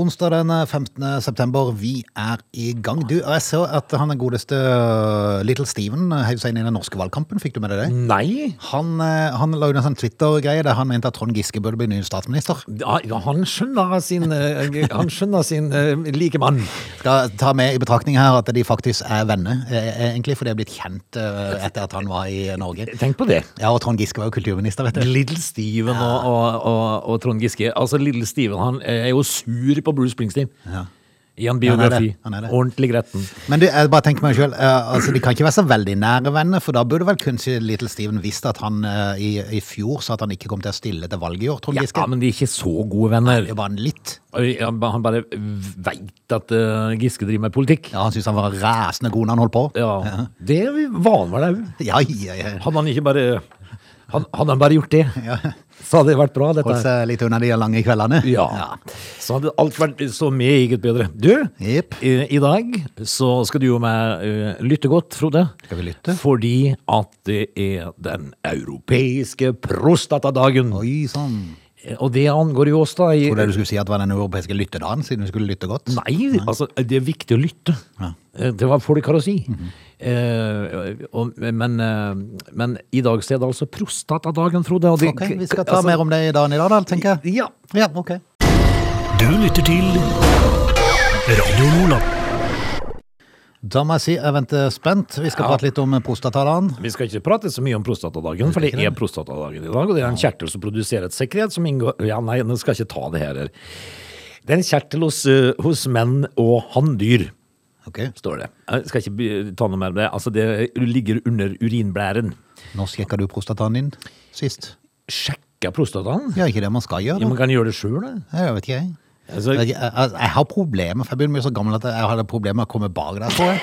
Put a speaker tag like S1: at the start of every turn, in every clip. S1: Onsdag den 15. september, vi er i gang. Du, og jeg så at han godeste øh, Little Steven heiv seg inn i den norske valgkampen. Fikk du med deg det?
S2: Nei.
S1: Han, eh, han la ut en sånn Twitter-greie der han mente at Trond Giske burde bli ny statsminister.
S2: Ja, Ah, ja, han skjønner sin, eh, han skjønner sin eh, like mann.
S1: Skal ta med i betraktning her at de faktisk er venner, eh, egentlig, for de er blitt kjent eh, etter at han var i Norge.
S2: Tenk på det.
S1: Ja, og Trond Giske var jo kulturminister, vet du.
S2: Little Steven og, og, og, og Trond Giske. Altså, Little Steven han eh, er jo sur på Bruce Springsteen.
S1: Ja.
S2: I
S1: han er
S2: en
S1: det.
S2: biografi.
S1: Han er det.
S2: Ordentlig gretten.
S1: Men du, jeg bare tenker meg selv, eh, altså, De kan ikke være så veldig nære venner, for da burde vel kanskje Little Steven visst at han eh, i, i fjor sa at han ikke kom til å stille til valget i år, Trond
S2: Ja,
S1: Giske.
S2: men de er ikke så gode venner.
S1: Det var han litt.
S2: Han ba- han bare veit at eh, Giske driver med politikk.
S1: Ja, Han syntes han var ræsende god når han holdt på.
S2: Ja, Det var han vel òg.
S1: Ja, ja, ja.
S2: Hadde han ikke bare han, Hadde han bare gjort det,
S1: ja.
S2: så hadde det vært bra, dette.
S1: Holdt
S2: her.
S1: seg litt unna de lange kveldene.
S2: Ja. Så hadde alt vært så meget bedre. Du,
S1: Jepp.
S2: i, i dag så skal du jo med eh, lytte godt, Frode.
S1: Skal vi lytte?
S2: Fordi at det er den europeiske prostatadagen. Eh,
S1: Oi sann.
S2: Og det angår jo oss, da.
S1: Trodde
S2: I,
S1: jeg Sånn. du skulle si at det var den europeiske lyttedagen, siden du skulle lytte godt.
S2: Nei, altså, det er viktig å lytte.
S1: Ja. Mhm.
S2: Eh, Det var folk har å si. Eh, og, men, eh, men i dag så er det altså prostatadagen, Frode. Og det, altså,
S1: Ok, Vi skal ta mer om det i dagen i dag, da, tenker jeg.
S2: Ja.
S1: Ja, ok.
S3: Du lytter til Radio Nordland.
S1: Da må jeg si jeg venter spent. Vi skal
S2: Ja.
S1: prate litt om prostatalaen.
S2: Vi skal ikke prate så mye om prostatadagen, for det er prostatadagen i dag. Og det er en kjertel som produserer et sekret som inngår Ja, nei, nå skal jeg ikke ta det her. her. Det er en kjertel hos, eh, hos menn og hanndyr,
S1: Ok.
S2: står det. Jeg skal ikke be- ta noe mer om det. Altså, det ligger under urinblæren.
S1: Når sjekka du prostataen din sist?
S2: Sjekka prostataen?
S1: Gjør ikke det man skal
S2: Ja,
S1: gjøre?
S2: man kan gjøre det sjøl, da.
S1: Jeg vet ikke, jeg.
S2: Altså,
S1: Jeg, jeg, jeg har problemer, for jeg begynner å bli så gammel at jeg hadde problemer med å komme bak der, tror jeg.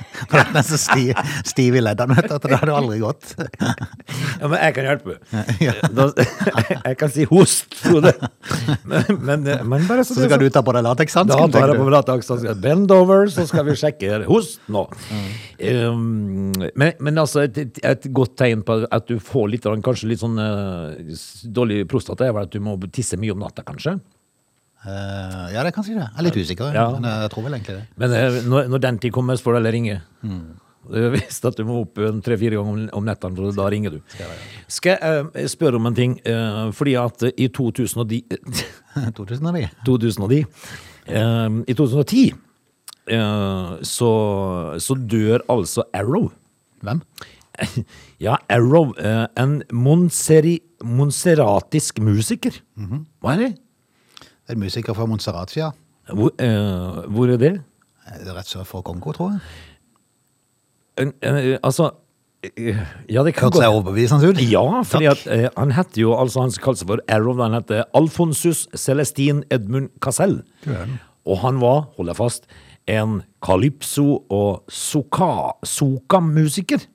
S1: For den er så stiv, stiv i leddene, vet du, at det hadde jo aldri gått.
S2: ja, men jeg kan hjelpe.
S1: Ja.
S2: Da, jeg kan si host, Frode. Men, men, eh, men bare så
S1: Så
S2: det er sånn-
S1: skal du ta på deg
S2: Da
S1: latexhansken,
S2: tar jeg på
S1: tenker du.
S2: meg lateaksen. Bend over, så skal vi sjekke her. Host nå. Um, men, men altså, et, et- et godt tegn på at du får litt, grann- kanskje litt sånn eh, s- dårlig prostata, er vel at du må tisse mye om natta, kanskje.
S1: Eh, ja, det er kanskje det. Jeg er litt usikker,
S2: Ja.
S1: men jeg tror vel egentlig det.
S2: Men eh, når, når den tid kommer, så får du heller ringe. Eh, Hvis at du må opp en tre-fire ganger om, om nettene, for da ringer du. Skal jeg eh, spørre om en ting? Eh, fordi at i 2010
S1: 2000 av de.
S2: 2009. Eh, I 2010 eh, så, så dør altså Arrow.
S1: Hvem?
S2: Ja, Arrow, eh, en monseri, monseratisk musiker. Mhm. Hva er det?
S1: Det er En musiker fra Montserrat, ja.
S2: Hvor, eh, hvor er det?
S1: Eh, Rett sør for Kongo, tror jeg.
S2: En, en, altså eh, Ja, det kan
S1: Hørte seg overbevisende ut.
S2: Ja, fordi
S1: Takk.
S2: at eh, han heter jo, altså han som kaller seg for Arrow, han heter Alfonsus Celestin Edmund Cassell. Og han var, hold deg fast, en calypso- og soka- soka-musiker.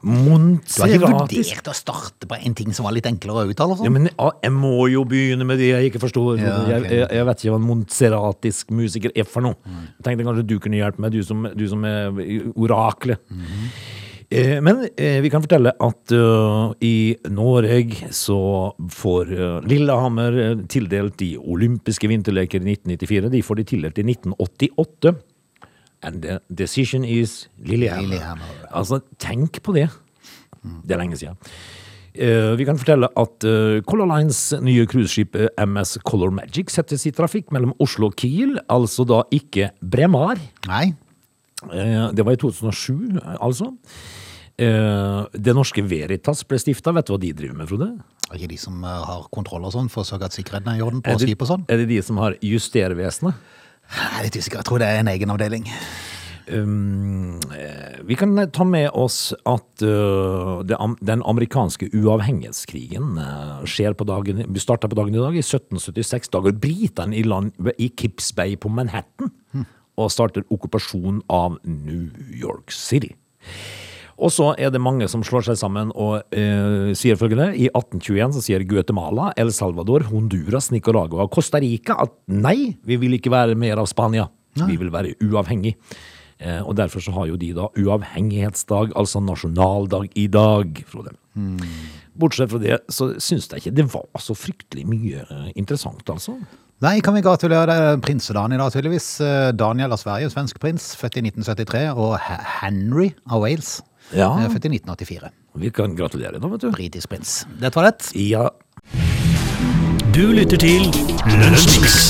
S1: Du har ikke
S2: Montseratisk.
S1: vurdert å starte på en ting som var litt enklere å uttale? og sånn?
S2: Ja, men ja, jeg må jo begynne med det jeg ikke forstår.
S1: Ja, ok.
S2: jeg, jeg, jeg vet ikke hva en montseratisk musiker er for noe. Jeg tenkte kanskje du kunne hjelpe meg, du som, du som er oraklet.
S1: Mm.
S2: Eh, Men eh, vi kan fortelle at eh, i Norge så får eh, Lillehammer eh, tildelt de olympiske vinterleker i 1994. De får de tildelt i 1988. And the decision is Lillehammer.
S1: Lillehammer.
S2: Altså, tenk på det. Det er lenge siden. Eh, vi kan fortelle at eh, Color Lines nye cruiseskip eh, MS Color Magic settes i trafikk mellom Oslo og Kiel, altså da ikke Bremar.
S1: Nei.
S2: Eh, Det var i 2007, eh, altså. Eh, Det norske Veritas ble stifta. Vet du hva de driver med, Frode?
S1: Er ikke de som eh, har kontroll og sånn, for å sørge at sikkerheten er i orden på
S2: Er det,
S1: skip og sånn?
S2: er det de som har Justervesenet?
S1: Jeg er litt usikker. Jeg tror det er en egen avdeling.
S2: Um, eh, vi kan eh, ta med oss at eh, det, am- den amerikanske uavhengighetskrigen eh, skjer på dagen, starta på dagen i dag i 1776. Da går britene i land ved- i Kips Bay på Manhattan
S1: Hm.
S2: og starter okkupasjonen av New York City. Og så er det mange som slår seg sammen og eh, sier følgende. I 1821 så sier Guatemala, El Salvador, Honduras, Nicaragua og Costa Rica at nei, vi vil ikke være mer av Spania. Vi vil være uavhengig. Eh, og derfor så har jo de da uavhengighetsdag, altså nasjonaldag i dag, Frode. Bortsett fra det, så syns jeg ikke det var så fryktelig mye eh, interessant, altså.
S1: Nei, kan vi gratulere deg, prinsedagen i dag, tydeligvis. Eh, Daniel av Sverige, svensk prins, født i 1973. Og H- Henry av Wales,
S2: Ja.
S1: eh, født i 1984.
S2: Vi kan gratulere, da, vet du.
S1: Britisk prins. Dette var det.
S2: Ja.
S3: Du lytter til Lunsjmix.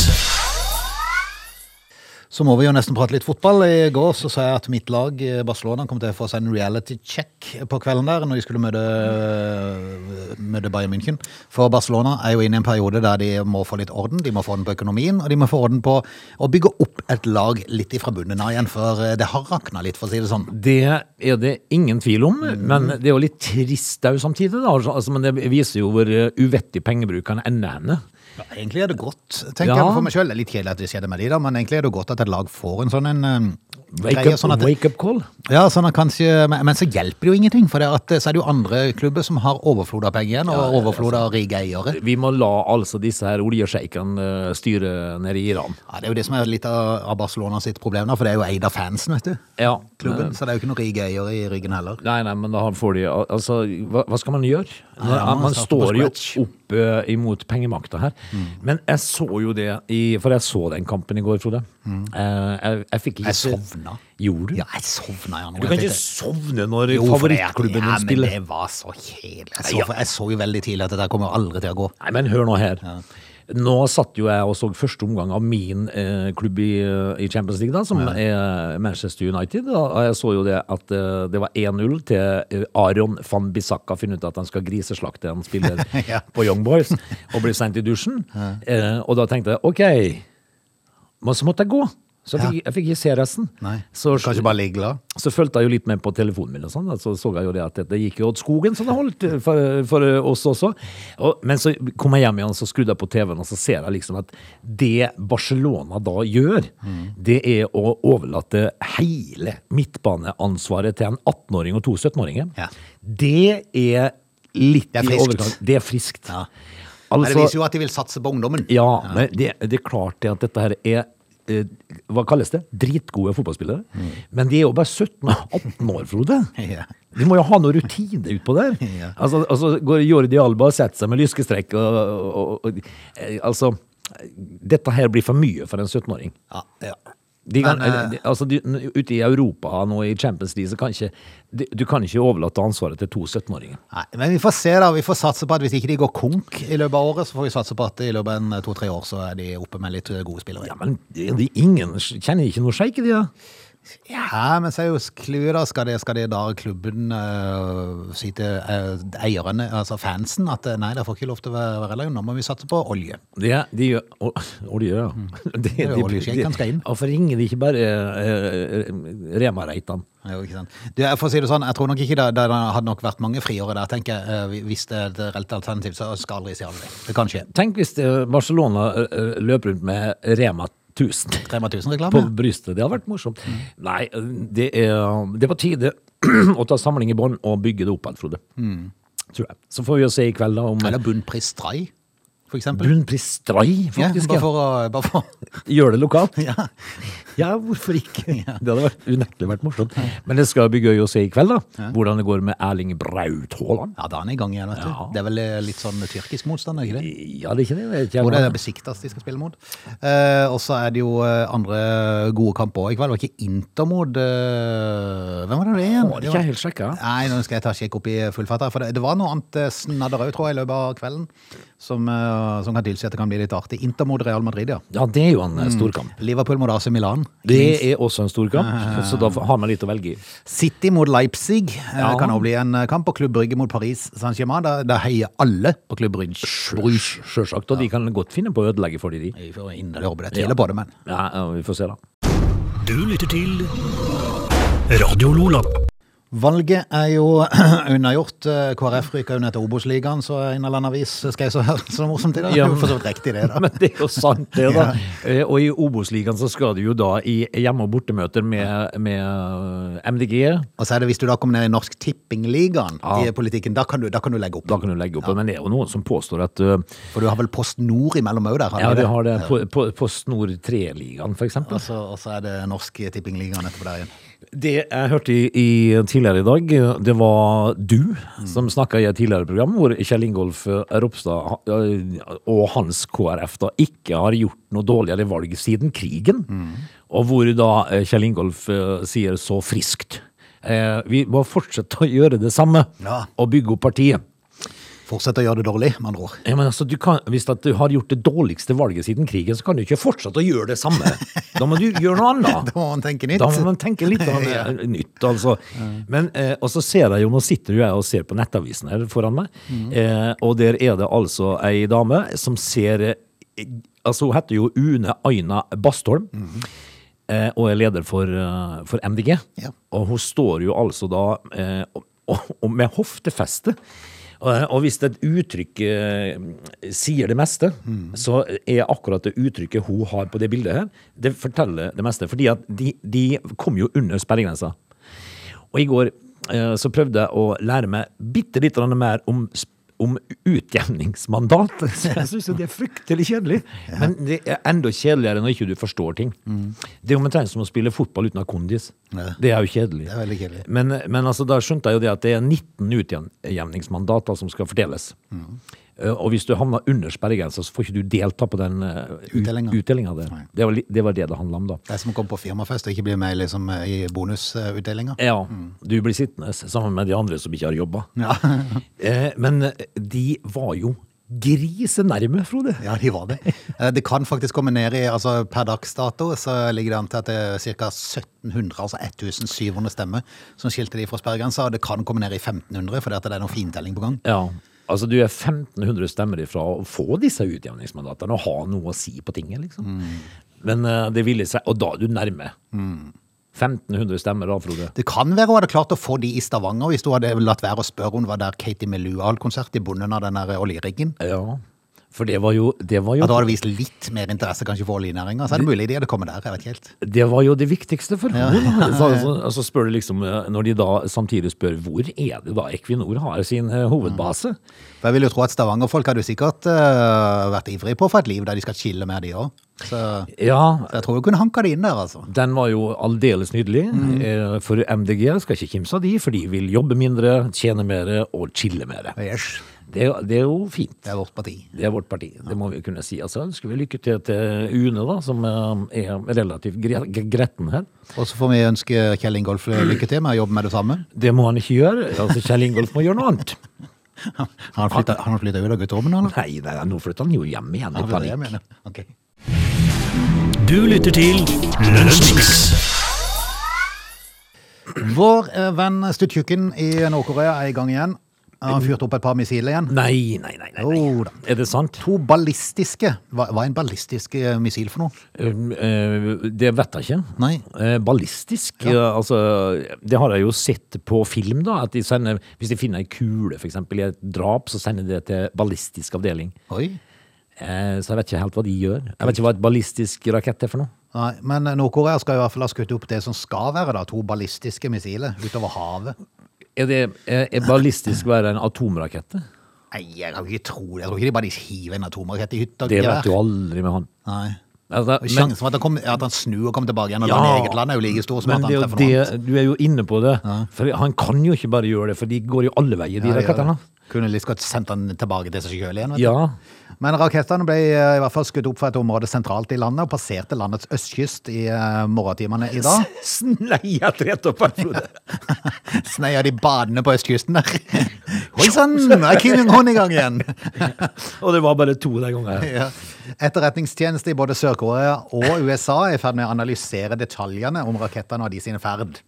S1: Så må vi jo nesten prate litt fotball. I går så sa jeg at mitt lag, eh, Barcelona, kom til å få seg en reality check på kvelden der, når de skulle møte, eh, møte Bayern München. For Barcelona er jo inne i en periode der de må få litt orden. De må få orden på økonomien, og de må få orden på å bygge opp et lag litt ifra bunnen av igjen, for eh, det har rakna litt, for å si det sånn.
S2: Det er det ingen tvil om, men det er jo litt trist òg samtidig. da, altså, Men det viser jo hvor eh, uvettig pengebruk kan ende henne.
S1: Ja, egentlig er det godt, tenker
S2: Ja.
S1: jeg for meg sjøl. Litt kjedelig at det skjedde med de, da, men egentlig er det godt at et lag får en sånn en eh,
S2: Wake
S1: greie.
S2: up,
S1: Sånn at,
S2: wake up call.
S1: ja, sånn at kanskje, men, men så hjelper det jo ingenting, for det at, eh, så er det jo andre klubber som har overflod av penger igjen, og overflod av rike eiere.
S2: Vi må la altså disse her oljesjeikene eh, styre nede i Iran.
S1: Ja, Det er jo det som er litt av av Barcelona sitt problem, da, for det er jo eid av fansen, vet du.
S2: Ja. eh,
S1: Klubben, så det er jo ikke noen rike eiere i ryggen heller.
S2: Nei, nei, men da får de al- Altså, hva, hva skal man gjøre?
S1: Ja,
S2: man
S1: man starter på
S2: står jo
S1: scratch. Mm.
S2: opp eh, imot pengemakta her. Men jeg så jo det i For jeg så den kampen i går, Frode. Eh, jeg, jeg fikk ikke
S1: Mm. Jeg
S2: se-
S1: sovna.
S2: Gjorde du?
S1: Ja, jeg sovna, ja. nå,
S2: Du kan
S1: jeg
S2: ikke
S1: tenkte-
S2: sovne når
S1: Jo, for det er- ja,
S2: favorittklubben din spiller.
S1: Men det var så kjedelig. Jeg så, jeg så jo veldig tidlig at dette kommer jo aldri til å gå.
S2: Nei, men hør nå her. Nå satt jo jeg og så første omgang av min eh, klubb i, eh, i Champions League, da, som er Manchester United. Da. Og jeg så jo det at eh, det var 1-0 til eh, Aron van Bissaka finner ut at han skal griseslakte en spiller
S1: Ja.
S2: på Young Boys og blir sendt i dusjen. Eh, og da tenkte jeg OK, men så måtte jeg gå. Så jeg
S1: Ja.
S2: fikk, jeg fikk ikke se resten.
S1: Nei,
S2: Så,
S1: Kanskje bare ligge glad.
S2: så fulgte jeg jo litt med på telefonen min, og sånn, da, så så jeg jo det at det gikk jo åt skogen, så det holdt for, for oss også. Og, men så kom jeg hjem igjen, så skrudde jeg på TV-en, og så ser jeg liksom at det Barcelona da gjør,
S1: Mm.
S2: det er å overlate hele midtbaneansvaret til en 18-åring og to 17-åringer.
S1: Ja.
S2: Det er litt
S1: Det er
S2: i
S1: friskt.
S2: overkant. Det er friskt.
S1: Ja. Men
S2: Altså,
S1: det viser jo at de vil satse på ungdommen.
S2: ja, men det, det er klart det at dette her er eh, hva kalles det? Dritgode fotballspillere. Men de er jo bare 17 og 18 år, Frode.
S1: Mm. Ja.
S2: De må jo ha noe rutine utpå der.
S1: Ja.
S2: Altså, altså går Jordi Alba og setter seg med lyskestrekk og, og, og eh, Altså, dette her blir for mye for en 17-åring.
S1: Ja, ja.
S2: De kan,
S1: Men, eh,
S2: de- altså, de, ute i Europa nå i Champions League, så kan ikke de, Du kan ikke overlate ansvaret til to 17-åringer.
S1: Nei, men vi får se, da. Vi får satse på at hvis ikke de går konk i løpet av året, så får vi satse på at i løpet av en, eh, to-tre år så er de oppe med litt eh, gode spillere.
S2: Ja, men de, de, ingen kjenner ikke noe sjeik i de, da.
S1: Ja, men så er jo clouet, da. Skal det, skal det da klubben eh, si til eh, eierne, altså fansen, at eh, nei, det får ikke lov til å være være lag, nå må vi satse på olje.
S2: Det, de gjør å- å, de gjør, ja. De,
S1: er jo oljesjeikene Mm. skal inn.
S2: Hvorfor ringer de ikke bare eh, eh, Rema-Reitan?
S1: Det er jo ikke sant. Du, jeg får si det sånn, jeg tror nok ikke det, det hadde nok vært mange friåret der, tenker jeg. eh, Hvis det er et reelt alternativ, så skal aldri si aldri. Det kan skje.
S2: Tenk hvis eh, Barcelona eh, løper rundt med Rema 1000
S1: Rema
S2: på
S1: 1000-reklame.
S2: brystet. Det hadde vært morsomt.
S1: Mm.
S2: Nei, det er, det er på tide å ta samling i bånd og bygge det opp igjen, Frode.
S1: Mm.
S2: Tror jeg. Så får vi jo se i kveld da om
S1: Eller bunnpris Stray, for eksempel.
S2: Brunpris Stray,
S1: Ja,
S2: faktisk.
S1: bare
S2: Ja,
S1: for å bare for,
S2: Gjør det lokalt.
S1: ja.
S2: Ja, hvorfor ikke? Det hadde vært, unektelig vært morsomt. Men det skal bli gøy å se i kveld, da. Hvordan det går med Erling Braut Haaland.
S1: ja, da er han i gang igjen, vet du.
S2: Ja.
S1: Det er vel eh, litt sånn tyrkisk motstand, er det ikke det?
S2: Ja, det er ikke det. det er ikke
S1: Hvor det
S2: jeg.
S1: er Besiktas de skal spille mot. Eh, og så er det jo eh, andre gode kamper òg i kveld. Det var ikke Inter mot eh, Hvem var det det igjen?
S2: Å, det er
S1: Det
S2: ikke
S1: var-
S2: jeg helt sjekka.
S1: Nei, nå skal jeg ta kikk opp i fullfatter. For det, det var noe annet eh, snadder òg, tror jeg, i løpet av kvelden. Som, eh, som kan tilsi at det kan bli litt artig. Inter mot Real Madrid, ja.
S2: Ja, det er jo en
S1: Mm.
S2: eh, storkamp.
S1: Liverpool mot AC Milan.
S2: Det er også en storkamp,
S1: Ah.
S2: så da har man litt å velge i.
S1: City mot Leipzig eh,
S2: Ja.
S1: kan òg bli en eh, kamp. Og Klubb Brygge mot Paris Saint-Germain. Da, da heier alle på Klubb Brygge. Bruges.
S2: Sjølsagt. Og de kan godt finne på å ødelegge for de, de.
S1: Jeg får inderlig håpe det. Jeg Tviler på det, men.
S2: Ja, ja, vi får se, da.
S3: Du lytter til Radio Lola.
S1: Valget er jo unnagjort. Eh, KrF ryker jo ned til Obos-ligaen, så en eller annen vis skal jeg så høre så morsomt i dag. Det
S2: Ja,
S1: er
S2: men-
S1: jo for så vidt riktig, det, da.
S2: Men det er jo sant, det, da. Eh, Og i Obos-ligaen så skal du jo da i hjemme- og bortemøter med, eh, med MDG.
S1: Og så er det hvis du da kommer ned i Norsk Tippingligaen
S2: Ja.
S1: i politikken, da kan, du, da kan du legge opp.
S2: Da kan du legge opp. Men det er jo noen som påstår at eh,
S1: For du har vel Post Nord imellom òg der? har
S2: Ja,
S1: du
S2: vi har det på, på, på Snor 3-ligaen, for eksempel.
S1: Og så, og så er det Norsk Tippingligaen etterpå der igjen.
S2: Det jeg hørte i, i tidligere i dag, det var du som snakka i et tidligere program, hvor Kjell Ingolf eh, Ropstad ha- eh, og hans KrF da ikke har gjort noe dårligere valg siden krigen. Og hvor da eh, Kjell Ingolf eh, sier så friskt eh, Vi må fortsette å gjøre det samme
S1: Ja.
S2: og bygge opp partiet.
S1: Fortsett å gjøre det dårlig, med andre ord.
S2: Ja, men altså, du kan, Hvis at du har gjort det dårligste valget siden krigen, så kan du ikke fortsette å gjøre det samme. Da må du gjøre noe annet.
S1: Da må man tenke nytt.
S2: Da må man tenke litt av det, nytt, altså. Men, eh, og så ser jeg jo, nå sitter jo jeg og ser på nettavisen her foran meg,
S1: Mm.
S2: eh, og der er det altså ei dame som ser eh, Altså, hun heter jo Une Aina Bastholm.
S1: Mm.
S2: eh, Og er leder for, eh, for MDG.
S1: Ja.
S2: Og hun står jo altså da eh, og, og med hoftefeste. Og, og hvis et uttrykk eh, sier det meste, så er akkurat det uttrykket hun har på det bildet her, det forteller det meste. Fordi at de, de kom jo under sperregrensa. Og i går eh, så prøvde jeg å lære meg bitte litt grann mer om, sp- om utjevningsmandat. Så jeg syns jo det er fryktelig kjedelig. Men det er enda kjedeligere når ikke du forstår ting. Det er jo omtrent som å spille fotball uten å ha kondis.
S1: Ja.
S2: Det er jo kjedelig.
S1: Det er veldig kjedelig.
S2: Men, men altså, da skjønte jeg jo det at det er 19 utjevningsmandater som skal fordeles. Eh, Og hvis du havner under sperregrensa, så får ikke du delta på den eh, ut-
S1: Uttellinga.
S2: uttellinga der.
S1: Nei.
S2: Det var, li- det var det det handla om, da.
S1: Det er som å komme på firmafest og ikke bli med liksom, i bonusutdelinga.
S2: Ja, du blir sittende sammen med de andre som ikke har jobba.
S1: Ja.
S2: Eh, Men de var jo grisenærme, Frode.
S1: ja, de var det. Eh, Det kan faktisk komme ned i altså Per dags dato så ligger det an til at det er ca. 1700, altså 1700 stemmer som skilte de fra sperregrensa. Og det kan komme ned i 1500, fordi at det er noe fintelling på gang.
S2: Ja. Altså, du er 1500 stemmer ifra å få disse utjevningsmandatene og ha noe å si på tinget, liksom. Men eh, det ville seg Og da er du nærme. Mm. 1500 stemmer da, Frode.
S1: Det kan være hun hadde klart å få de i Stavanger hvis hun hadde latt være å spørre om det var der Katie Melua hadde konsert i bunnen av den der oljeriggen.
S2: Ja. For det var jo Det var
S1: Ja,
S2: jo,
S1: da hadde det vist litt mer interesse kanskje for oljenæringa. Så er det mulig de hadde kommet der. jeg vet ikke helt.
S2: det, var jo det viktigste for henne. Så altså, altså spør du liksom, eh, når de da samtidig spør hvor er det da Equinor har sin eh, hovedbase?
S1: For Jeg vil jo tro at stavangerfolk hadde jo sikkert eh, vært ivrige på å få et liv der de skal chille med de òg. Så,
S2: Ja,
S1: så jeg tror hun kunne hanka det inn der, altså.
S2: Den var jo aldeles nydelig.
S1: Mm.
S2: eh, For MDG skal ikke kimse av de, for de vil jobbe mindre, tjene mer og chille mer.
S1: Yes.
S2: Det, det er jo fint.
S1: Det er vårt parti.
S2: Det er vårt parti, det må vi jo kunne si. Altså, ønsker vi lykke til til Une, da, som eh, er relativt gre- gre- gretten her.
S1: Og så får vi ønske Kjell Ingolf lykke til med å jobbe med det samme.
S2: Det må han ikke gjøre. Altså, Kjell Ingolf må gjøre noe annet.
S1: Han flytta han har flyttet ut av gutterommet, eller?
S2: Nei, nei, nei, nå flytter han jo hjem igjen. i
S1: Han flyttet hjem
S2: panikk.
S1: igjen, ja. Ok.
S3: Du lytter til Lunsjmix.
S1: Vår eh, venn Stuttjukken i Nord-Korea er i gang igjen. Han har fyrt opp et par missiler igjen.
S2: Nei, nei, nei. nei,
S1: Jo
S2: nei.
S1: da.
S2: Er det sant?
S1: To ballistiske Hva, hva er en ballistisk eh, missil for noe?
S2: Um, eh, Det vet jeg ikke.
S1: Nei.
S2: Eh, Ballistisk, eh, altså Det har jeg jo sett på film, da. At de sender, hvis de finner ei kule, f.eks. i et drap, så sender de det til ballistisk avdeling.
S1: Oi.
S2: Eh, Så jeg vet ikke helt hva de gjør. Jeg vet ikke hva et ballistisk rakett er for noe.
S1: Nei, men Nord-Korea skal i hvert fall ha skutt opp det som skal være da, to ballistiske missiler utover havet.
S2: Er, det, er er ballistisk være en atomrakette?
S1: Nei, jeg kan ikke tro det. Jeg tror ikke de bare hiver en atomrakett i hytta. og
S2: Det
S1: gevær.
S2: vet du aldri med han.
S1: Nei.
S2: Altså,
S1: Og
S2: men-
S1: Sjansen for at han, kom, at han snur og kommer tilbake igjen og
S2: Ja.
S1: lander i eget land, er jo like stor som
S2: Men
S1: at han
S2: det er
S1: treffer
S2: jo
S1: noe annet.
S2: det, du er jo inne på det. For han kan jo ikke bare gjøre det, for de går jo alle veier, de
S1: Ja, det gjør
S2: rakettene.
S1: det. Kunne litt godt sendt han tilbake til seg sjøl igjen. vet du.
S2: Ja.
S1: Men rakettene ble eh, i hvert fall skutt opp fra et område sentralt i landet og passerte landets østkyst i eh, morgentimene i dag.
S2: Sneia rett opp her, Frode.
S1: Sneia de badene på østkysten der. Oi sann, er Kim Jong-un i gang igjen?
S2: Og det var bare to den gangen.
S1: Ja. Etterretningstjeneste i både Sør-Korea og USA er i ferd med å analysere detaljene om rakettene og de sine ferd.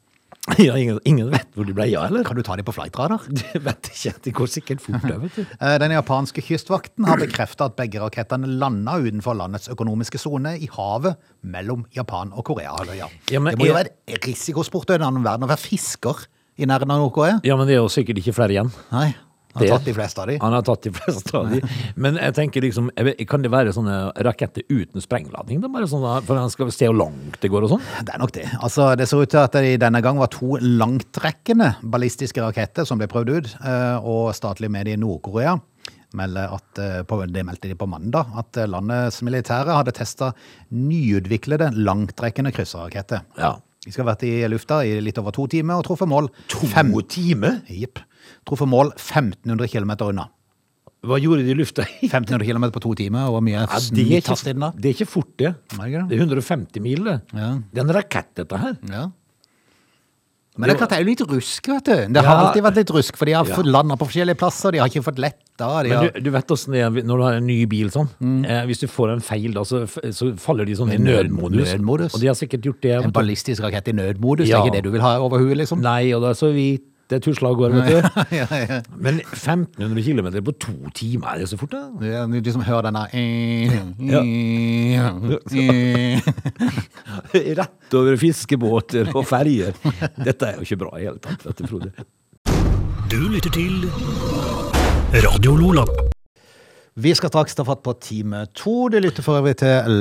S2: Ja, ingen, ingen vet hvor de ble av, eller?
S1: Kan du ta de på flightradar?
S2: Det vet jeg ikke. Det går sikkert fort, det, vet du.
S1: Eh, Den japanske kystvakten har bekrefta at begge rakettene landa utenfor landets økonomiske sone i havet mellom Japan og Korea. halvøya.
S2: Ja, men
S1: det må jo
S2: er-
S1: være risikosport i en annen verden å være fisker. i nærheten av Nord-Korea?
S2: Ja, men det er jo sikkert ikke flere igjen.
S1: Nei. Han
S2: Det-
S1: har tatt de fleste av de.
S2: Han har tatt de fleste av de. Men jeg tenker liksom, jeg vet- kan det være sånne raketter uten sprengladning? Det er bare sånn, for han skal se hvor langt det går og sånn.
S1: Det er nok det. Altså, det ser ut til at det i denne gang var to langtrekkende ballistiske raketter som ble prøvd ut, eh, og statlige medier i Nord-Korea melder at, eh, på- det meldte de på mandag, at eh, landets militære hadde testa nyutviklede langtrekkende krysserraketter.
S2: Ja.
S1: De skal ha vært i lufta i litt over to timer og truffet mål fem-
S2: timer?
S1: Jipp. Truffet mål 1500 km unna.
S2: Hva gjorde de i lufta?
S1: 1500 km på to timer, og hvor mye
S2: Ja, det, er
S1: snitt hastighet
S2: ikke,
S1: da?
S2: det er ikke fort, det.
S1: Nei, ikke det?
S2: Det er 150 mil, det.
S1: Ja.
S2: Det er en rakett, dette her.
S1: Ja. Men det er klart det er jo litt rusk, vet du. Det har
S2: Ja.
S1: alltid vært litt rusk, for de har
S2: Ja.
S1: fått landa på forskjellige plasser, de har ikke fått letta. De
S2: Men
S1: har...
S2: du, du vet åssen det er når du har en ny bil sånn. Eh, hvis du får en feil, da, så, f- så faller de sånn i
S1: Nød-
S2: nødmodus.
S1: nødmodus.
S2: Og de har sikkert gjort det.
S1: En
S2: vet du.
S1: ballistisk rakett i nødmodus, det
S2: Ja.
S1: er ikke det du vil ha over huet, liksom?
S2: Nei, og det er så vidt det tusla av gårde, vet du.
S1: ja, ja.
S2: Men 1500 km på to timer, er det så fort, da?
S1: Det er- Du som hører denne
S2: Rett over fiskebåter og ferjer. Dette er jo ikke bra i hele tatt, vet du, Frode.
S3: Du lytter til Radio Lola.
S1: Vi skal straks ta fatt på time to. Du lytter for øvrig til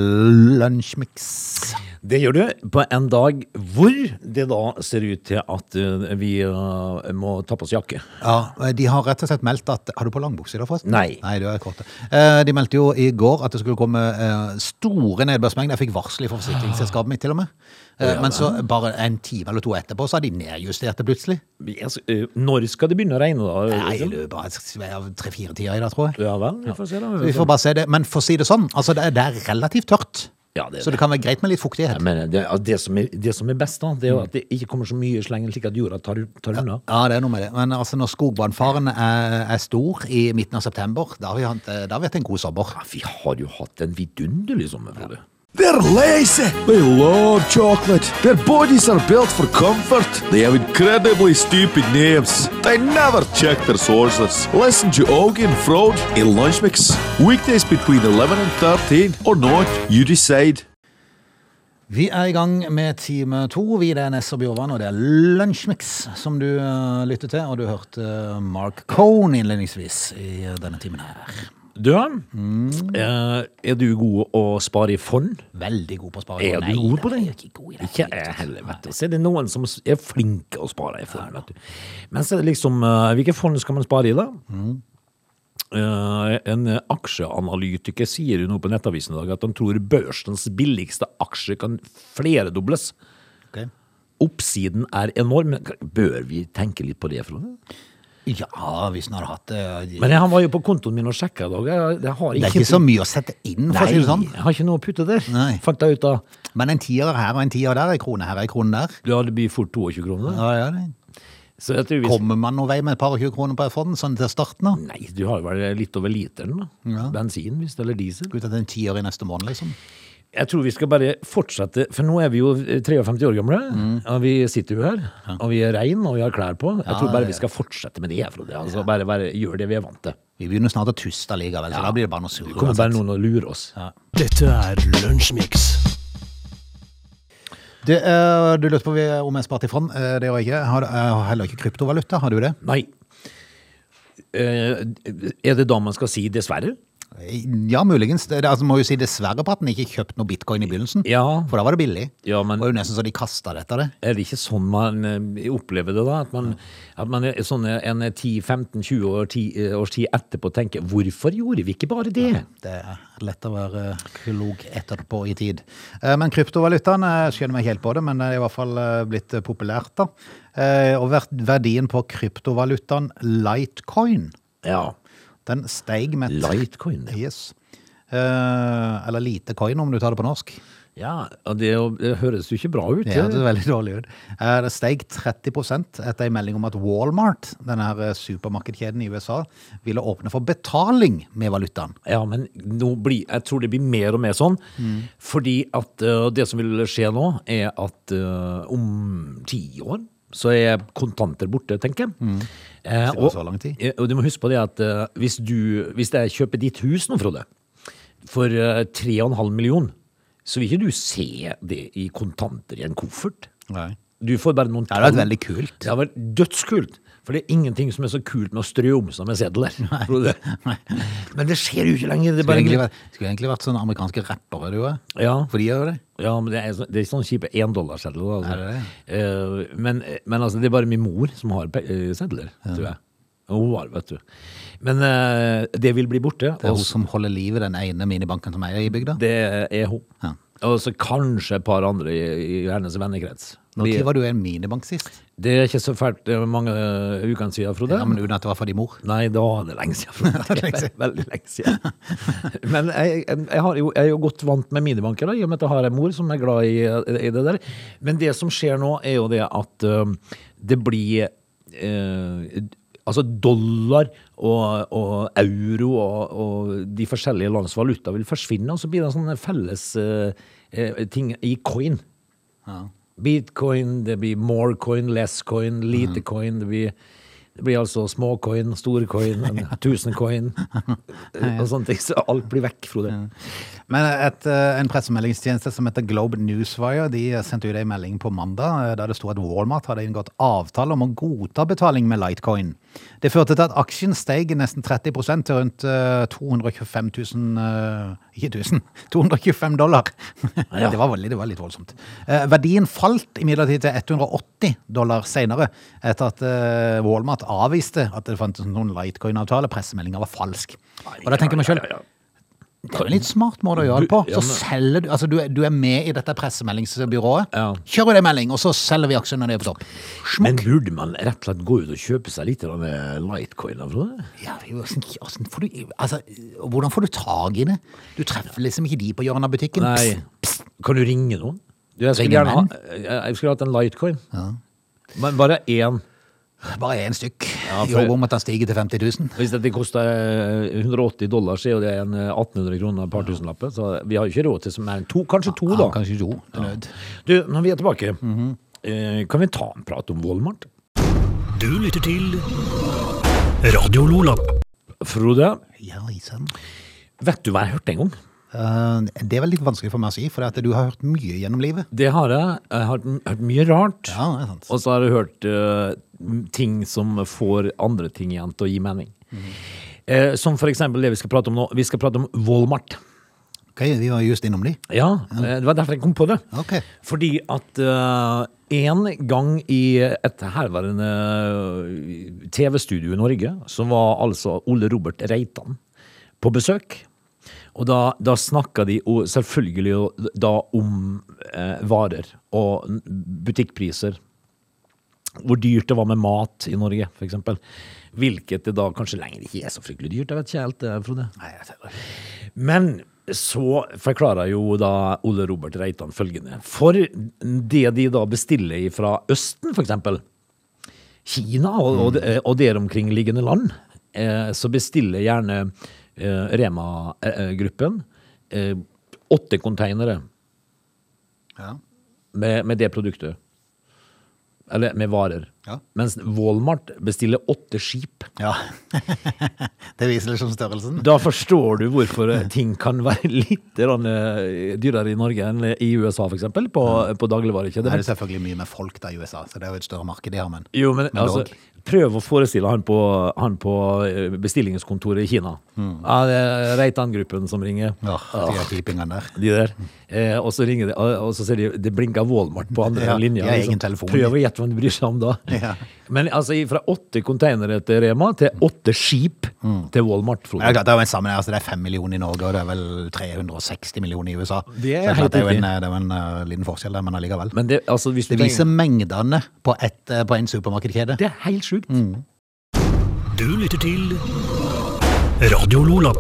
S1: Lunsjmix.
S2: Det gjør du på en dag hvor det da ser ut til at eh, vi eh, må ta på oss jakke.
S1: Ja, eh, de har rett og slett meldt at Har du på langbukse i dag, forresten?
S2: Nei.
S1: Nei, du er kort. Eh, De meldte jo i går at det skulle komme eh, store nedbørsmengder. Jeg fikk varsel fra forsikringsselskapet mitt, til og med. Eh, Men så bare en time eller to etterpå så har de nedjustert det plutselig.
S2: Vi er så- eh, Når skal det begynne å regne, da? Liksom?
S1: Nei, i løpet av tre-fire tider i dag, tror jeg.
S2: Ja vel, vi får se, da.
S1: Så vi får bare se det. Men for å si det sånn, altså det er, det er relativt tørt.
S2: Ja, det er
S1: så
S2: det.
S1: det kan være greit med litt fuktighet.
S2: Men det, Mm. ja, det, som er, det som er best, da, det er jo at det ikke kommer så mye sleng, slik at jorda tar, tar unna.
S1: Ja, det er noe med det. Men altså, når skogbrannfaren er, er stor i midten av september, da har vi hatt, eh, da har vi hatt en god sommer.
S2: Ja, vi har jo hatt en vidunderlig sommer, Frode.
S4: They're lazy. They love chocolate. Their bodies are built for comfort. They have incredibly stupid names. They never check their sources. Listen to Augie and Frode in Lunch Mix. Weekdays between 11 and 13 or not, you decide.
S1: Vi er i gang med time to. Vi det er Ness og Bjørvann, og det er Lunsjmix som du eh, lytter til. Og du hørte eh, Mark Cohn innledningsvis i eh, denne timen her.
S2: Du,
S1: Mm.
S2: eh, er du god å spare i fond?
S1: Veldig god på å spare.
S2: Er du
S1: Nei,
S2: god på
S1: nei,
S2: det?
S1: jeg er Ikke god i det.
S2: Ikke jeg heller, vet du. Så er det noen som er flinke å spare i fond, vet du. Men så er det liksom, eh, hvilke fond skal man spare i da?
S1: Mm.
S2: Eh, en eh, aksjeanalytiker sier jo nå på nettavisen i dag at han tror børsens billigste aksje kan flerdobles.
S1: Ok.
S2: Oppsiden er enorm. Men Bør vi tenke litt på det, Frode?
S1: Ja, hvis en hadde hatt eh, de-
S2: Men jeg, han var jo på kontoen min og sjekka i dag. Jeg, jeg har
S1: Det
S2: ikke,
S1: er ikke så mye å sette inn, for
S2: Nei,
S1: å si det sånn.
S2: jeg har ikke noe å putte der.
S1: Nei.
S2: Fant jeg ut av.
S1: Men en tier her og en tier der, en krone her og en krone der.
S2: Ja, det blir fort 22 kroner.
S1: Ja, ja, det.
S2: Så jeg tror vi
S1: Kommer man noen vei med et par og tjue kroner på fond, sånn til starten av?
S2: Nei, du har vel litt over literen, da. Bensin, hvis det, eller diesel.
S1: Ut etter en tier i neste måned, liksom.
S2: Jeg tror vi skal bare fortsette, for nå er vi jo 53 år gamle, og vi sitter jo her, og vi er rein, og vi har klær på. Jeg tror bare vi skal fortsette med det, Frode. Altså, bare, bare gjør det vi er vant til.
S1: Vi begynner snart å tuste likevel, så da blir det bare noe surr.
S2: Det kommer bare noen og lurer oss.
S3: Dette er Lunsjmix.
S1: Det, eh, du lurte på om jeg sparte i fond. Eh, Det gjør jeg ikke. Har, jeg har heller ikke kryptovaluta. Har du det?
S2: Nei. Eh, er det da man skal si dessverre?
S1: Eh, Ja, muligens. Det, altså, må jo si dessverre på at den ikke kjøpte noe bitcoin i begynnelsen.
S2: Ja.
S1: For da var det billig.
S2: Ja, men-
S1: Det var jo nesten så de kasta det etter det.
S2: Er det ikke sånn man eh, opplever det, da? At man, at man er sånn en 10-15-20 år, ti- eh, års tid etterpå tenker 'hvorfor gjorde vi ikke bare det'?
S1: Det er lett å være klok etterpå i tid. Eh, Men kryptovalutaen eh, skjønner meg ikke helt på det, men det er i hvert fall eh, blitt eh, populært, da. Eh, Og verd- verdien på kryptovalutaen Litecoin,
S2: Ja.
S1: den steig med
S2: Litecoin. ja.
S1: Yes. Eh, Eller litecoin, om du tar det på norsk.
S2: Ja, og det, er jo- det høres jo ikke bra ut.
S1: Ja, det
S2: det.
S1: er veldig dårlig ut. Eh, Det steg 30 etter en melding om at Walmart, denne her eh, supermarkedkjeden i USA, ville åpne for betaling med valutaen.
S2: ja men nå blir, jeg tror det blir mer og mer sånn. Fordi at eh, det som vil skje nå, er at eh, om ti år så er kontanter borte, tenker jeg. Eh,
S1: Mm. det var så lang tid.
S2: eh, og du må huske på det at eh, hvis, du, hvis jeg kjøper ditt hus nå, Frode, for eh, 3,5 millioner, så vil ikke du se det i kontanter i en koffert.
S1: Nei.
S2: Du får bare noen
S1: Det hadde vært veldig kult.
S2: Det hadde vært dødskult. For det er ingenting som er så kult med å strø om seg med sedler. tror du det? Men det skjer jo ikke lenger. Det er
S1: Skulle egentlig,
S2: bare...
S1: vært, skulle egentlig vært sånne amerikanske rappere, du òg.
S2: Ja.
S1: For de gjør jo det.
S2: Ja, men det er, så- det er sånn kjipe endollarsedler. Altså.
S1: Er det
S2: Eh, men, men altså, det er bare min mor som har pe- eh, sedler, tror jeg. Hun har, vet du. Men eh, det vil bli borte.
S1: Det er
S2: og
S1: hun som holder liv i den ene minibanken som er i bygda.
S2: det er hun.
S1: Ja.
S2: Og så kanskje et par andre i, i hennes vennekrets.
S1: Når
S2: Vi-
S1: var du i en minibank sist?
S2: Det er ikke så fælt det er mange eh, ukene siden, Frode.
S1: Ja, men Uten at det var for din mor.
S2: Nei, da er det lenge siden. Frode.
S1: det er lenge siden.
S2: Veldig lenge siden. Men jeg, jeg, jeg, har jo, jeg er jo godt vant med minibanker, da, i og med at jeg har en mor som er glad i, i det der. Men det som skjer nå, er jo det at øhm, det blir øh, Altså dollar og, og euro og, og de forskjellige lands valuta vil forsvinne, og så blir det en sånn felles øh, eh, ting i coin. Bitcoin, det blir more coin, less coin, lite coin. Det blir, det blir altså små coin, store coin, en tusen coin og sånne ting. Så alt blir vekk, Frode.
S1: Men et, eh, en pressemeldingstjeneste som heter Globe Newswire, de sendte ut en melding på mandag eh, der det sto at Walmart hadde inngått avtale om å godta betaling med Litecoin. Det førte til at aksjen steg nesten 30 til rundt eh, 225 000 eh, Ikke 1000, 225 dollar.
S2: Ja.
S1: det, var veldig, det var litt voldsomt. Eh, Verdien falt imidlertid til 180 dollar senere, etter at eh, Walmart avviste at det fantes noen Litecoin-avtale. Pressemeldinga var falsk. Og da tenker vi selv, det er en litt smart måte å gjøre det på.
S2: Du- ja,
S1: Så
S2: men-
S1: selger du, altså du, er- du er med i dette pressemeldingsbyrået.
S2: Ja.
S1: Kjører det melding, og så selger vi aksjene når det er på topp.
S2: Men burde man rett og slett gå ut og kjøpe seg litt av lightcoin? Frode?
S1: Ja, det er jo sånn- hvordan får du, altså, hvordan får du tak i det? Du treffer liksom ikke de på hjørnet av butikken.
S2: Nei.
S1: Psst.
S2: Kan du ringe noen? Du, jeg, skulle
S1: Ringe
S2: gjerne ha, jeg jeg skulle hatt en lightcoin. Men bare én.
S1: Bare én stykk.
S2: Ja,
S1: I
S2: for-
S1: håp om at den stiger til 50 000.
S2: Hvis dette koster eh, 180 dollar, så er jo det en eh, 1800 kroner, et par tusenlapper. Så vi har jo ikke råd til så mer enn to. Kanskje to, da.
S1: Ja, kanskje jo, til nød.
S2: Du, når vi er tilbake, eh, kan vi ta en prat om Walmart?
S3: Du lytter til Radio Lola.
S2: Frode,
S1: Ja, i sann.
S2: vet du hva jeg hørte en gang?
S1: Eh, det er vel litt vanskelig for meg å si, for at du har hørt mye gjennom livet.
S2: Det har jeg. Jeg har m- hørt mye rart.
S1: Ja, det er sant.
S2: Og så har jeg hørt eh, m- ting som får andre ting igjen til å gi mening. Eh, som for eksempel det vi skal prate om nå. Vi skal prate om Walmart.
S1: Ok, vi var just innom de.
S2: Ja, eh, det var derfor jeg kom på det.
S1: Ok.
S2: Fordi at eh, en gang i et herværende TV-studio i Norge, så var altså Ole Robert Reitan på besøk. Og da, da snakka de o- selvfølgelig jo da om eh, varer og n- butikkpriser. Hvor dyrt det var med mat i Norge, f.eks. Hvilket det da kanskje lenger ikke er så fryktelig dyrt. Jeg vet ikke helt, eh, Frode. Nei, jeg vet ikke. Men så forklarer jo da Ole Robert Reitan følgende. For det de da bestiller fra Østen, for eksempel, Kina og, og, eh, og der omkringliggende land, eh, så bestiller gjerne eh, Rema-gruppen eh, åtte konteinere
S1: Ja.
S2: med, med det produktet. Eller med varer.
S1: Ja.
S2: Mens Walmart bestiller åtte skip.
S1: ja. det viser liksom størrelsen.
S2: Da forstår du hvorfor eh, ting kan være litt grann, eh, dyrere i Norge enn i USA, f.eks., på, eh, på
S1: Det er
S2: dagligvarekjeder.
S1: det selvfølgelig mye med folk da i USA, så det er jo et større marked de har, men
S2: Jo, men
S1: Men
S2: altså,
S1: dog.
S2: prøv å forestille han på, han på eh, bestillingskontoret i Kina. Ja, det er Reitan-gruppen som ringer.
S1: Mm. Ja, de
S2: Åh,
S1: er keepingene der.
S2: De der. Eh, og så ringer de, og og så ser de det blinker Walmart på andre
S1: Ja,
S2: linja.
S1: de har egen telefon.
S2: Prøv å gjette hva de bryr seg om da.
S1: Ja.
S2: Men altså, fra åtte konteinere til Rema til åtte skip
S1: Mm.
S2: til Walmart. Frode.
S1: Men det er klart, det er jo en sammenheng, altså det er 5 millioner i Norge, og det er vel 360 millioner i USA.
S2: Det er
S1: Så klart,
S2: helt
S1: det er jo en,
S2: riktig.
S1: det er jo en eh, liten forskjell der, men allikevel.
S2: Men det, altså, hvis du
S1: Det viser
S2: tenker-
S1: mengdene på, ett, eh, på en supermarkedkjede.
S2: det er helt sjukt.
S1: Mm.
S3: Du lytter til Radio Lola.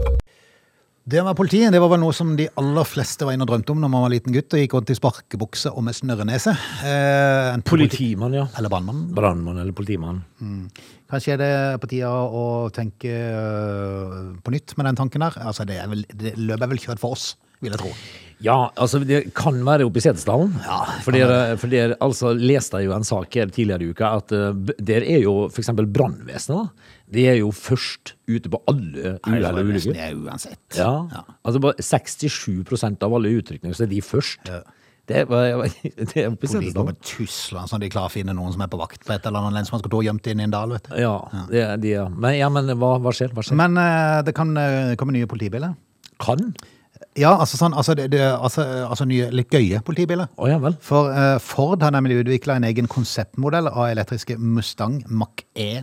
S1: Det med politiet, det var vel noe som de aller fleste var inne og drømte om når man var liten gutt, og gikk rundt i sparkebukse og med snørrenese. Eh, enten politi-
S2: Politimann, ja.
S1: Eller brannmann.
S2: Brannmann eller politimann.
S1: Kanskje er det på tida å tenke eh, på nytt med den tanken der. Altså, det, er vel, det løpet er vel kjørt for oss, vil jeg tro.
S2: Ja, altså det kan være oppe i Setesdalen.
S1: Ja, det
S2: for
S1: kan
S2: der, for der altså, leste jeg jo en sak her tidligere i uka, at eh, b- der er jo f.eks. brannvesenet. da. De er jo først ute på alle
S1: Det
S2: uhell og
S1: er
S2: ulykker.
S1: det uansett.
S2: Ja. Altså bare 67 av alle utrykninger, så er de først. Det var, det er
S1: De
S2: oppbestemt.
S1: går med tusler, sånn at de klarer å finne noen som er på vakt på et eller annet lensmannskontor gjemt inn i en dal. vet du.
S2: Ja, det, er- de, er- men, ja, men hva, hva skjer? Hva skjer?
S1: Men eh, det kan eh, komme nye politibiler.
S2: kan?
S1: Ja, altså, sånn, altså, det, det, altså, altså nye, litt gøye politibiler.
S2: Å ja vel.
S1: For eh, Ford har nemlig utvikla en egen konseptmodell av elektriske Mustang E Mach-E.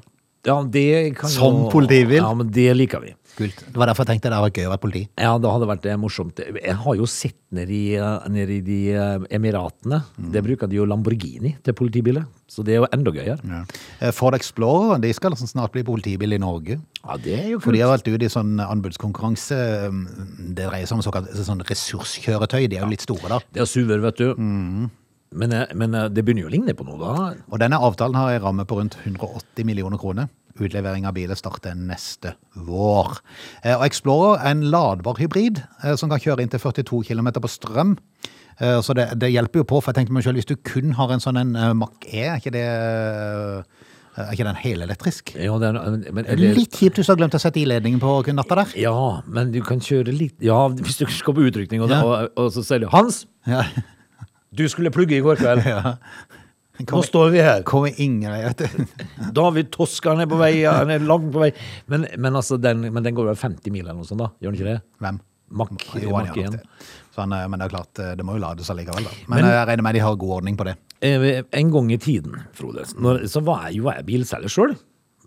S2: Ja, det kan
S1: Som
S2: jo-
S1: politibil.
S2: Ja, men det liker vi.
S1: Kult. Det var derfor jeg tenkte det hadde vært gøy å være politi.
S2: Ja, det hadde vært eh, morsomt. Jeg har jo sett nede i, eh, nede i de eh, Emiratene. Der bruker de jo Lamborghini til politibiler, så det er jo enda gøyere.
S1: Eh, Ford Explorer de skal liksom snart bli politibil i Norge.
S2: Ja, det er jo
S1: For de har vært ute i sånn anbudskonkurranse. mm, Det dreier seg om såkalt sånn ressurskjøretøy. De er jo litt store, da.
S2: Det er suver, vet du. Men, eh, men eh, det begynner jo å ligne på noe, da.
S1: Og denne avtalen har en ramme på rundt 180 millioner kroner. Utlevering av biler starter neste vår. Eh, Og Explorer er en ladbar hybrid eh, som kan kjøre inntil 42 km på strøm. Eh, Så det, det hjelper jo på, for jeg tenkte meg selv, hvis du kun har en sånn en eh, Mac-E, er ikke det eh, er ikke den helelektrisk?
S2: Ja, det er, men,
S1: Det er Litt kjipt hvis du har glemt å sette i ledningen på natta der.
S2: Ja, men du kan kjøre litt Ja, hvis du skal på utrykning, og,
S1: Ja.
S2: og, og så sier du Hans,
S1: Ja.
S2: du skulle plugge i går kveld. Nå
S1: Kommer,
S2: står vi her.
S1: kommer ingen vei, vet du.
S2: David Toskeren er på vei, han er langt på vei. Men, men, altså, den, men den går vel 50 mil eller noe sånt, da? Gjør den ikke det?
S1: Hvem?
S2: Mack
S1: Jo, han
S2: Mack
S1: gjør nok
S2: 1.
S1: det. Så han, eh, men det er klart, eh, det må jo lades allikevel, da. Men,
S2: Men-
S1: eh, jeg regner med de har god ordning på det.
S2: Eh, En gang i tiden, Frode, når, så var jeg jo jeg bilselger sjøl.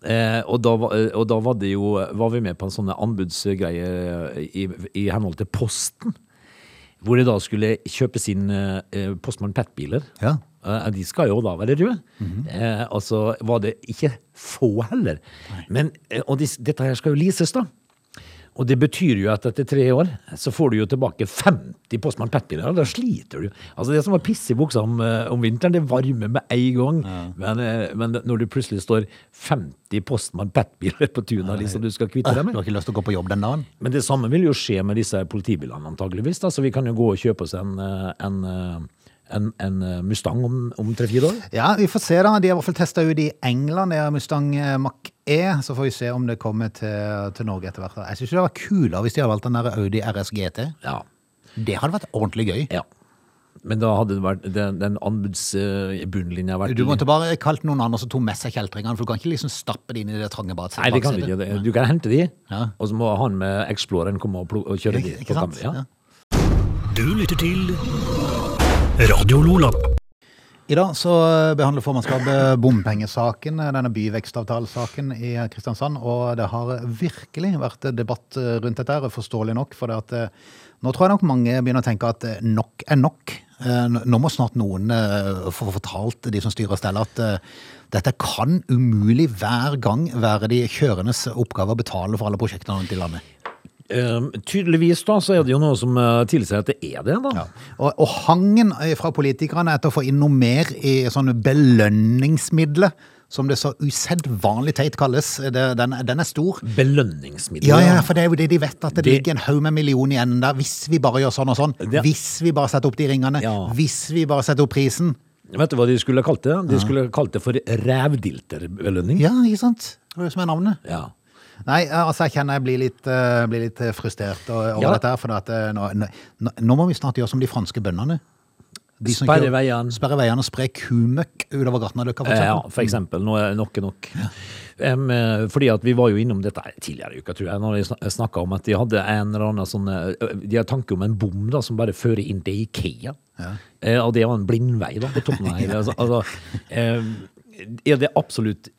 S2: Eh, og da, var- og da var, det jo, var vi med på en sånn anbudsgreie eh, i, i henhold til Posten. Hvor det da skulle kjøpes inn eh, Postmann Pet-biler.
S1: Ja.
S2: Eh, de skal jo da være røde. eh, og så var det ikke få heller. Men, eh, og de, dette her skal jo leases, da. Og det betyr jo at etter tre år så får du jo tilbake 50 Postmann Pet-biler. og Da sliter du. Altså Det som var piss i buksa om, eh, om vinteren, det varmer med en gang. Men, eh, men når du plutselig står 50 Postmann Pet-biler på tuna, liksom du skal kvitte deg
S1: Du har
S2: med
S1: ikke lyst til å gå på jobb den dagen?
S2: Men det samme vil jo skje med disse politibilene, antageligvis. Da. Så vi kan jo gå og kjøpe oss en, eh, en, eh, en, en eh, Mustang om, om tre-fire år.
S1: Ja, vi får se da. De har i hvert fall testa ut i England, det er Mustang eh, Mach-E. Så får vi se om det kommer til, til Norge etter hvert. da. Jeg syns det hadde vært kulere hvis de hadde valgt den der Audi RS GT.
S2: Ja.
S1: Det hadde vært ordentlig gøy.
S2: ja. Men da hadde det vært den, den anbudsbunnlinja vært
S1: Du måtte bare kalt noen andre som tok med seg kjeltringene, for du kan ikke liksom stappe det inn i det trange badsetet.
S2: Nei, det kan du ikke. Det- Du kan hente de,
S1: Ja.
S2: og så må han med Exploreren komme og, plo- og kjøre de.
S1: Ikke
S2: på
S1: sant?
S2: kamera. Ja.
S1: Ja.
S3: Du lytter til Radio Lola.
S1: I dag så behandler formannskapet bompengesaken, denne byvekstavtalesaken i Kristiansand, og det har virkelig vært debatt rundt dette, her, forståelig nok, for det at eh, nå tror jeg nok mange begynner å tenke at eh, nok er nok. Eh, n- Nå må snart noen eh, få fortalt de som styrer og steller at eh, dette kan umulig hver gang være de kjørendes oppgave å betale for alle prosjektene rundt i landet.
S2: Ehm, tydeligvis da, så er det jo noe som eh, tilsier at det er det, da.
S1: Ja. Og, og hangen eh, fra politikerne etter å få inn noe mer i sånne belønningsmidler, som det så usedvanlig teit kalles, eh, det, den, den er stor.
S2: Belønningsmiddel.
S1: Ja, ja, for det er jo det de vet, at det,
S2: Det-
S1: ligger en haug med millioner igjen der, hvis vi bare gjør sånn og sånn,
S2: Det-
S1: hvis vi bare setter opp de ringene,
S2: Ja.
S1: hvis vi bare setter opp prisen.
S2: Vet du hva de skulle kalt det? De skulle kalt det for rævdilterbelønning.
S1: Ja, ikke sant? Det er det som er navnet.
S2: Ja.
S1: Nei, altså jeg kjenner jeg blir litt, eh, blir litt frustrert o- over
S2: Ja.
S1: dette her, for at, eh, nå, nå- nå, nå må vi snart gjøre som de franske bøndene. De som
S2: Sperre
S1: kjører-
S2: veiene.
S1: Sperre veiene og spre kumøkk utover Gartnerløkka, for
S2: Eh, Ja,
S1: eksempel.
S2: for eksempel. Nå er nok er nok. Em, eh, fordi at vi var jo innom dette her tidligere i uka, tror jeg, når jeg snakka om at de hadde en eller annen sånn eh, De har tanke om en bom da, som bare fører inn til Ikea. Eh, og det var en blindvei da, på toppen av hele. Altså, altså, eh, er det absolutt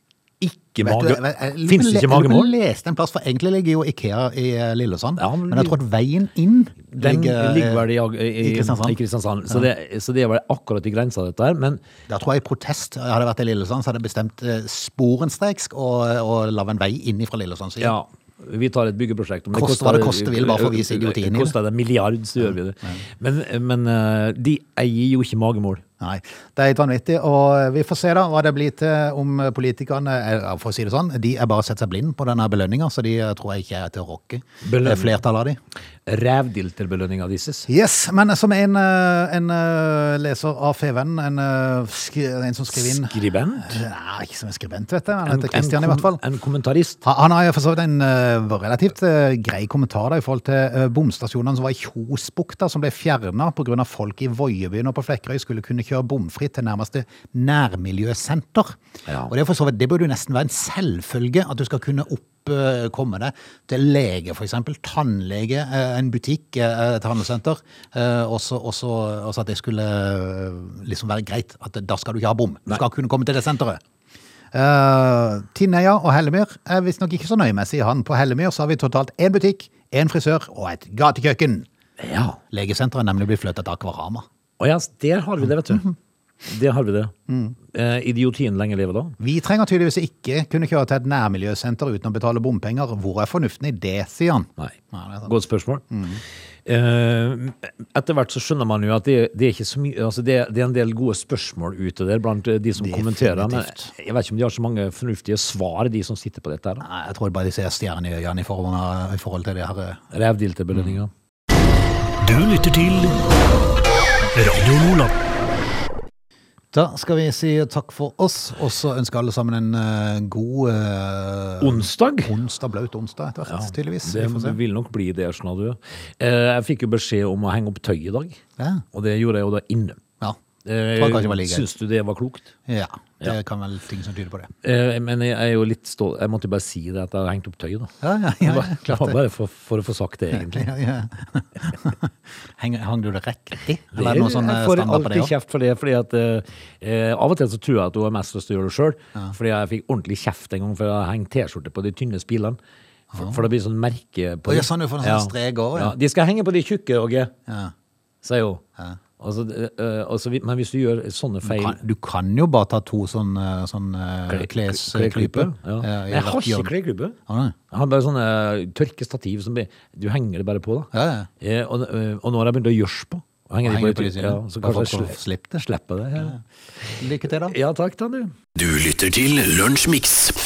S2: ikke
S1: Vet du,
S2: mage...
S1: jeg- jeg- jeg-
S2: Fins
S1: jeg- jeg-
S2: det ikke magemål?
S1: Jeg leste en plass, for egentlig ligger jo Ikea i eh, Lillesand,
S2: Ja, men
S1: men jeg tror at veien inn
S2: Den ligger,
S1: eh,
S2: vel i, i,
S1: i Kristiansand.
S2: I Kristiansand. Så, det, så det er vel akkurat i grensa, dette her. Men
S1: Der tror jeg i protest, hadde jeg vært i Lillesand, så hadde jeg bestemt eh, sporenstreks og, og lavet en vei inn fra Lillesand. siden.
S2: Ja, vi tar et byggeprosjekt. Om
S1: Koste hva det koste vil, bare for å vise idiotien i det.
S2: Koster det en milliard, så gjør vi det. Men, men eh, de eier jo ikke magemål.
S1: Nei, det er helt vanvittig, og eh, vi får se da hva det blir til om politikerne, eh, ja, for å si det sånn, de er bare sett seg blind på denne belønningen, så de eh, tror jeg ikke er til å rokke
S2: Belønning.
S1: eh, flertallet av de.
S2: Rævdilterbelønninga disses.
S1: Yes, men som en, eh, en eh, leser av FVN, en, eh, sk- en som skriver inn...
S2: Skribent?
S1: Nei, ikke som en skribent, vet jeg. Han
S2: En-
S1: heter
S2: en
S1: Kristian i
S2: kom-
S1: hvert fall.
S2: En kommentarist.
S1: Han han har jo for så vidt en eh, relativt eh, grei kommentar da, i forhold til eh, bomstasjonene som var i Kjosbukta, som ble fjerna pga. folk i Voiebyen og på Flekkerøy skulle kunne kjøre bomfritt til nærmeste nærmiljøsenter.
S2: Ja.
S1: Og det, er for så vidt, det burde jo nesten være en selvfølge at du skal kunne opp eh, komme deg til lege, f.eks. Tannlege, eh, en butikk, eh, et handelssenter. eh, Også, også, også at det skulle eh, liksom være greit. At da skal du ikke ha bom. Du skal kunne komme til det senteret. Uh, Tinneia og Hellemyr er visstnok ikke så nøye med, sier han. På Hellemyr så har vi totalt én butikk, én frisør og et gatekjøkken.
S2: Ja.
S1: Legesenteret er nemlig blitt flyttet til Akvarama.
S2: Og ja, der har vi det, vet
S1: Mhm.
S2: du. Der har vi det.
S1: Mm.
S2: Eh, idiotien lenge lever da.
S1: Vi trenger tydeligvis ikke kunne kjøre til et nærmiljøsenter uten å betale bompenger. Hvor er fornuften i det, sier han.
S2: Nei.
S1: Nei, det er sant. Mm.
S2: Godt spørsmål. Eh, etter hvert så skjønner man jo at det, det er ikke så mye altså det, det er en del gode spørsmål ute der blant eh, de som kommenterer. Men
S1: Definitivt.
S2: jeg vet ikke om de har så mange fornuftige svar, de som sitter på dette. her da.
S1: Nei, jeg tror bare de ser stjernen i øynene i forhold, i forhold til det her. eh.
S2: Rævdiltebelønninga.
S1: Mm.
S3: Du lytter til Radio Lola.
S1: Da skal vi si takk for oss, og så ønsker alle sammen en eh, god eh,
S2: Onsdag?
S1: onsdag, blaut onsdag etter hvert, tydeligvis. Vi får
S2: Det
S1: se.
S2: vil nok bli det, skjønner du. Eh, Jeg fikk jo beskjed om å henge opp tøy i dag,
S1: Ja.
S2: og det gjorde jeg jo da inne.
S1: ja.
S2: Eh,
S1: Tror kanskje det var like greit.
S2: Syns du det var klokt?
S1: Ja, det kan vel ting som tyder på det.
S2: Eh, Men jeg er jo litt stolt Jeg måtte jo bare si det, at jeg har hengt opp tøy, da.
S1: Ja, ja,
S2: Det
S1: ja,
S2: var
S1: ja,
S2: det var bare for, for å få sagt det, egentlig.
S1: Ja, ja. Heng, hang du det riktig? Eller er det noe sånn eh,
S2: jeg får
S1: standard på det
S2: alltid
S1: òg?
S2: kjeft for det, fordi at eh, av og til så tror jeg at hun er mest lyst til å gjøre det sjøl. Fordi jeg fikk ordentlig kjeft en gang for å henge T-skjorte på de tynne spillene. For, for det blir sånn merke på
S1: Å, ja,
S2: de.
S1: sånn du får noen sånne streker over, ja.
S2: De skal henge på de tjukke, Åge,
S1: Ja.
S2: sier hun. Og så, eh, og så vi- men hvis du gjør sånne feil
S1: Kan- Du kan jo bare ta to sånn, eh, sånn eh,
S2: Kle-
S1: klesklype.
S2: Ja.
S1: eh, i
S2: Men jeg har
S1: hvert
S2: ikke
S1: hjørne. Ah,
S2: kleklype.
S1: Har du det?
S2: Jeg har bare sånne eh, tørkestativ som blir- Du henger det bare på, da.
S1: Ja, ja.
S2: Eh, og, eh, og nå har jeg begynt å gjørs på. Og henger,
S1: Og
S2: de
S1: henger
S2: på,
S1: på de
S2: de
S1: siden.
S2: ja, så
S1: Bare
S2: kanskje
S1: for å
S2: jeg
S1: slippe
S2: slipper det. Ja.
S1: Lykke til, da.
S2: ja takk, da, du.
S3: Du lytter til Lunsjmix.